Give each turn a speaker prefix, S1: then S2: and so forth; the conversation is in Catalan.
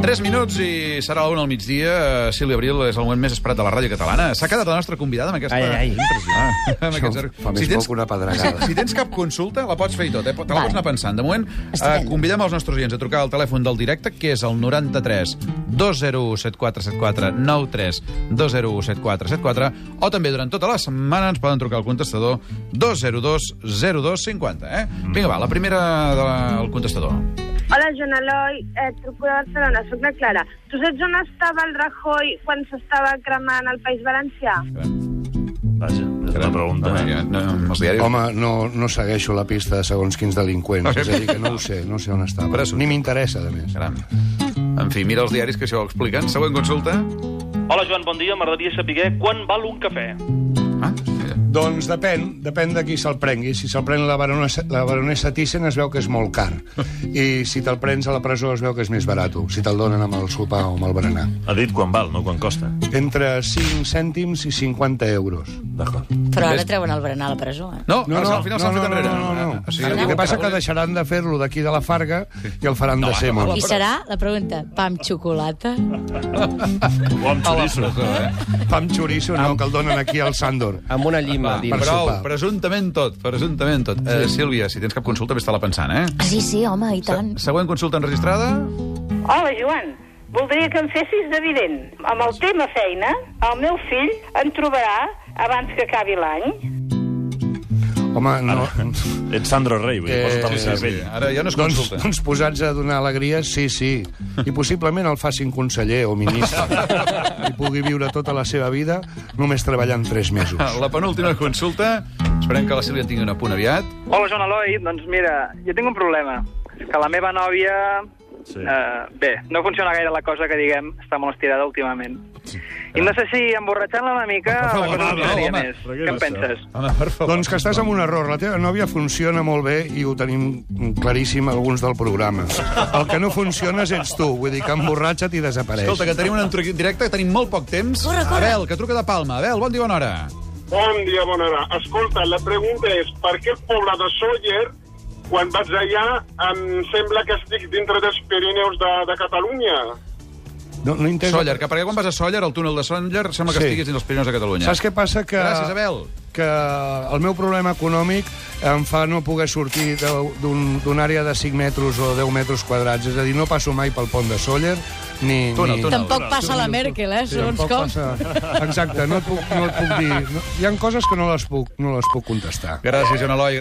S1: 3 minuts i serà la 1 al migdia. Eh, Sílvia Abril és el moment més esperat de la ràdio catalana. S'ha quedat la nostra convidada amb aquesta...
S2: Ai, ai, ai.
S1: Ah, amb
S3: Això
S1: aquests...
S3: fa més por que una pedregada.
S1: Si tens cap consulta, la pots fer i tot, eh? Te la
S4: Val.
S1: pots anar pensant. De moment, eh,
S4: Estupendo.
S1: convidem els nostres oients a trucar al telèfon del directe, que és el 93 201 7474 93 201 7474 o també durant tota la setmana ens poden trucar al contestador 202 0250, eh?
S3: Mm.
S1: Vinga, va, la primera del de la... el contestador.
S5: Hola, Joan Eloi, eh, truco de Barcelona, sóc la Clara. Tu saps on estava el Rajoy quan s'estava cremant al País Valencià?
S2: Vaja, és una pregunta.
S1: Home, ja, no, no, els diaris...
S3: Home, no, no segueixo la pista de segons quins delinqüents. És a dir, que no ho sé, no sé on estava.
S1: Però és un-
S3: Ni m'interessa, a més.
S1: Caram. En fi, mira els diaris que això ho expliquen. Següent consulta.
S6: Hola, Joan, bon dia. M'agradaria saber quan val un cafè.
S1: Ah, mira.
S3: Doncs depèn, depèn de qui se'l prengui. Si se'l pren la baronessa, la baronessa Thyssen es veu que és molt car. I si te'l prens a la presó es veu que és més barat, si te'l donen amb el sopar o amb el berenar.
S2: Ha dit quan val, no quan costa.
S3: Entre 5 cèntims i 50 euros.
S2: D'acord.
S4: Però ara treuen el berenar a la presó, eh?
S1: No,
S3: Ah,
S1: no, no, al final s'han fet enrere.
S3: No, no, no.
S1: O sigui,
S3: el que passa que deixaran de fer-lo d'aquí de la Farga i el faran de Sèmol.
S4: I serà la pregunta, pa amb xocolata?
S2: O amb xoriço.
S3: Pa amb xoriço, no, que el donen aquí al Sandor.
S7: Amb una
S1: Ah,
S7: llima.
S3: Va,
S7: dins.
S3: per
S1: Prou,
S3: sopar.
S1: presumptament tot, presumptament tot. Eh, Sílvia, si tens cap consulta, vés-te-la pensant, eh?
S4: Ah, Sí, sí, home, i tant.
S1: Se- Següent consulta enregistrada.
S8: Hola, Joan. Voldria que em fessis d'evident. Amb el tema feina, el meu fill en trobarà abans que acabi l'any.
S3: Home, no...
S2: Ets Sandro Rey, vull dir,
S3: Eh,
S2: posa't al
S3: sí,
S2: seu
S3: sí.
S2: cervell.
S1: Ara ja no és
S3: Doncs,
S1: consulta.
S3: doncs posats a donar alegria, sí, sí. I possiblement el facin conseller o ministre. I pugui viure tota la seva vida només treballant tres mesos.
S1: La penúltima consulta. Esperem que la Sílvia tingui un apunt aviat.
S9: Hola, Joan Eloi. Doncs mira, jo tinc un problema. És que la meva nòvia...
S2: Sí.
S9: Eh, bé, no funciona gaire la cosa que diguem. Està molt estirada últimament. I no sé si emborratxant-la una mica
S1: favor,
S9: la cosa
S1: no,
S9: funcionaria
S1: home,
S9: més.
S2: però
S9: Què
S2: què
S9: en
S2: és això?
S9: penses?
S1: Home, per favor.
S3: Doncs que estàs amb un error. La teva nòvia funciona molt bé i ho tenim claríssim alguns del programa. El que no funciones ets tu. Vull dir que emborratxa't i desapareix.
S1: Escolta, que tenim un entro directe, que tenim molt poc temps.
S4: Corre, corre.
S1: Abel, que truca de Palma. Abel, bon dia, bona hora.
S10: Bon dia, bona hora. Escolta, la pregunta és per què el poble de Sóller, quan vaig allà, em sembla que estic dintre dels Pirineus de, de Catalunya?
S3: No, no he entès...
S1: Sóller, que perquè quan vas a Sóller, al túnel de Sóller, sembla que
S3: Sí.
S1: estiguis dins els Pirineus de Catalunya.
S3: Saps què passa? Que...
S1: Gràcies, Abel.
S3: que el meu problema econòmic em fa no poder sortir de- d'un- d'una àrea de 5 metres o 10 metres quadrats. És a dir, no passo mai pel pont de Sóller, ni...
S1: Túnel,
S3: ni...
S1: túnel.
S4: Tampoc passa la Merkel, eh,
S3: Sí,
S4: segons
S3: tampoc
S4: com.
S3: Passa... Exacte, no et puc, no et puc dir... No... Hi ha coses que no les puc, no les puc contestar.
S1: Gràcies, Joan Eloi.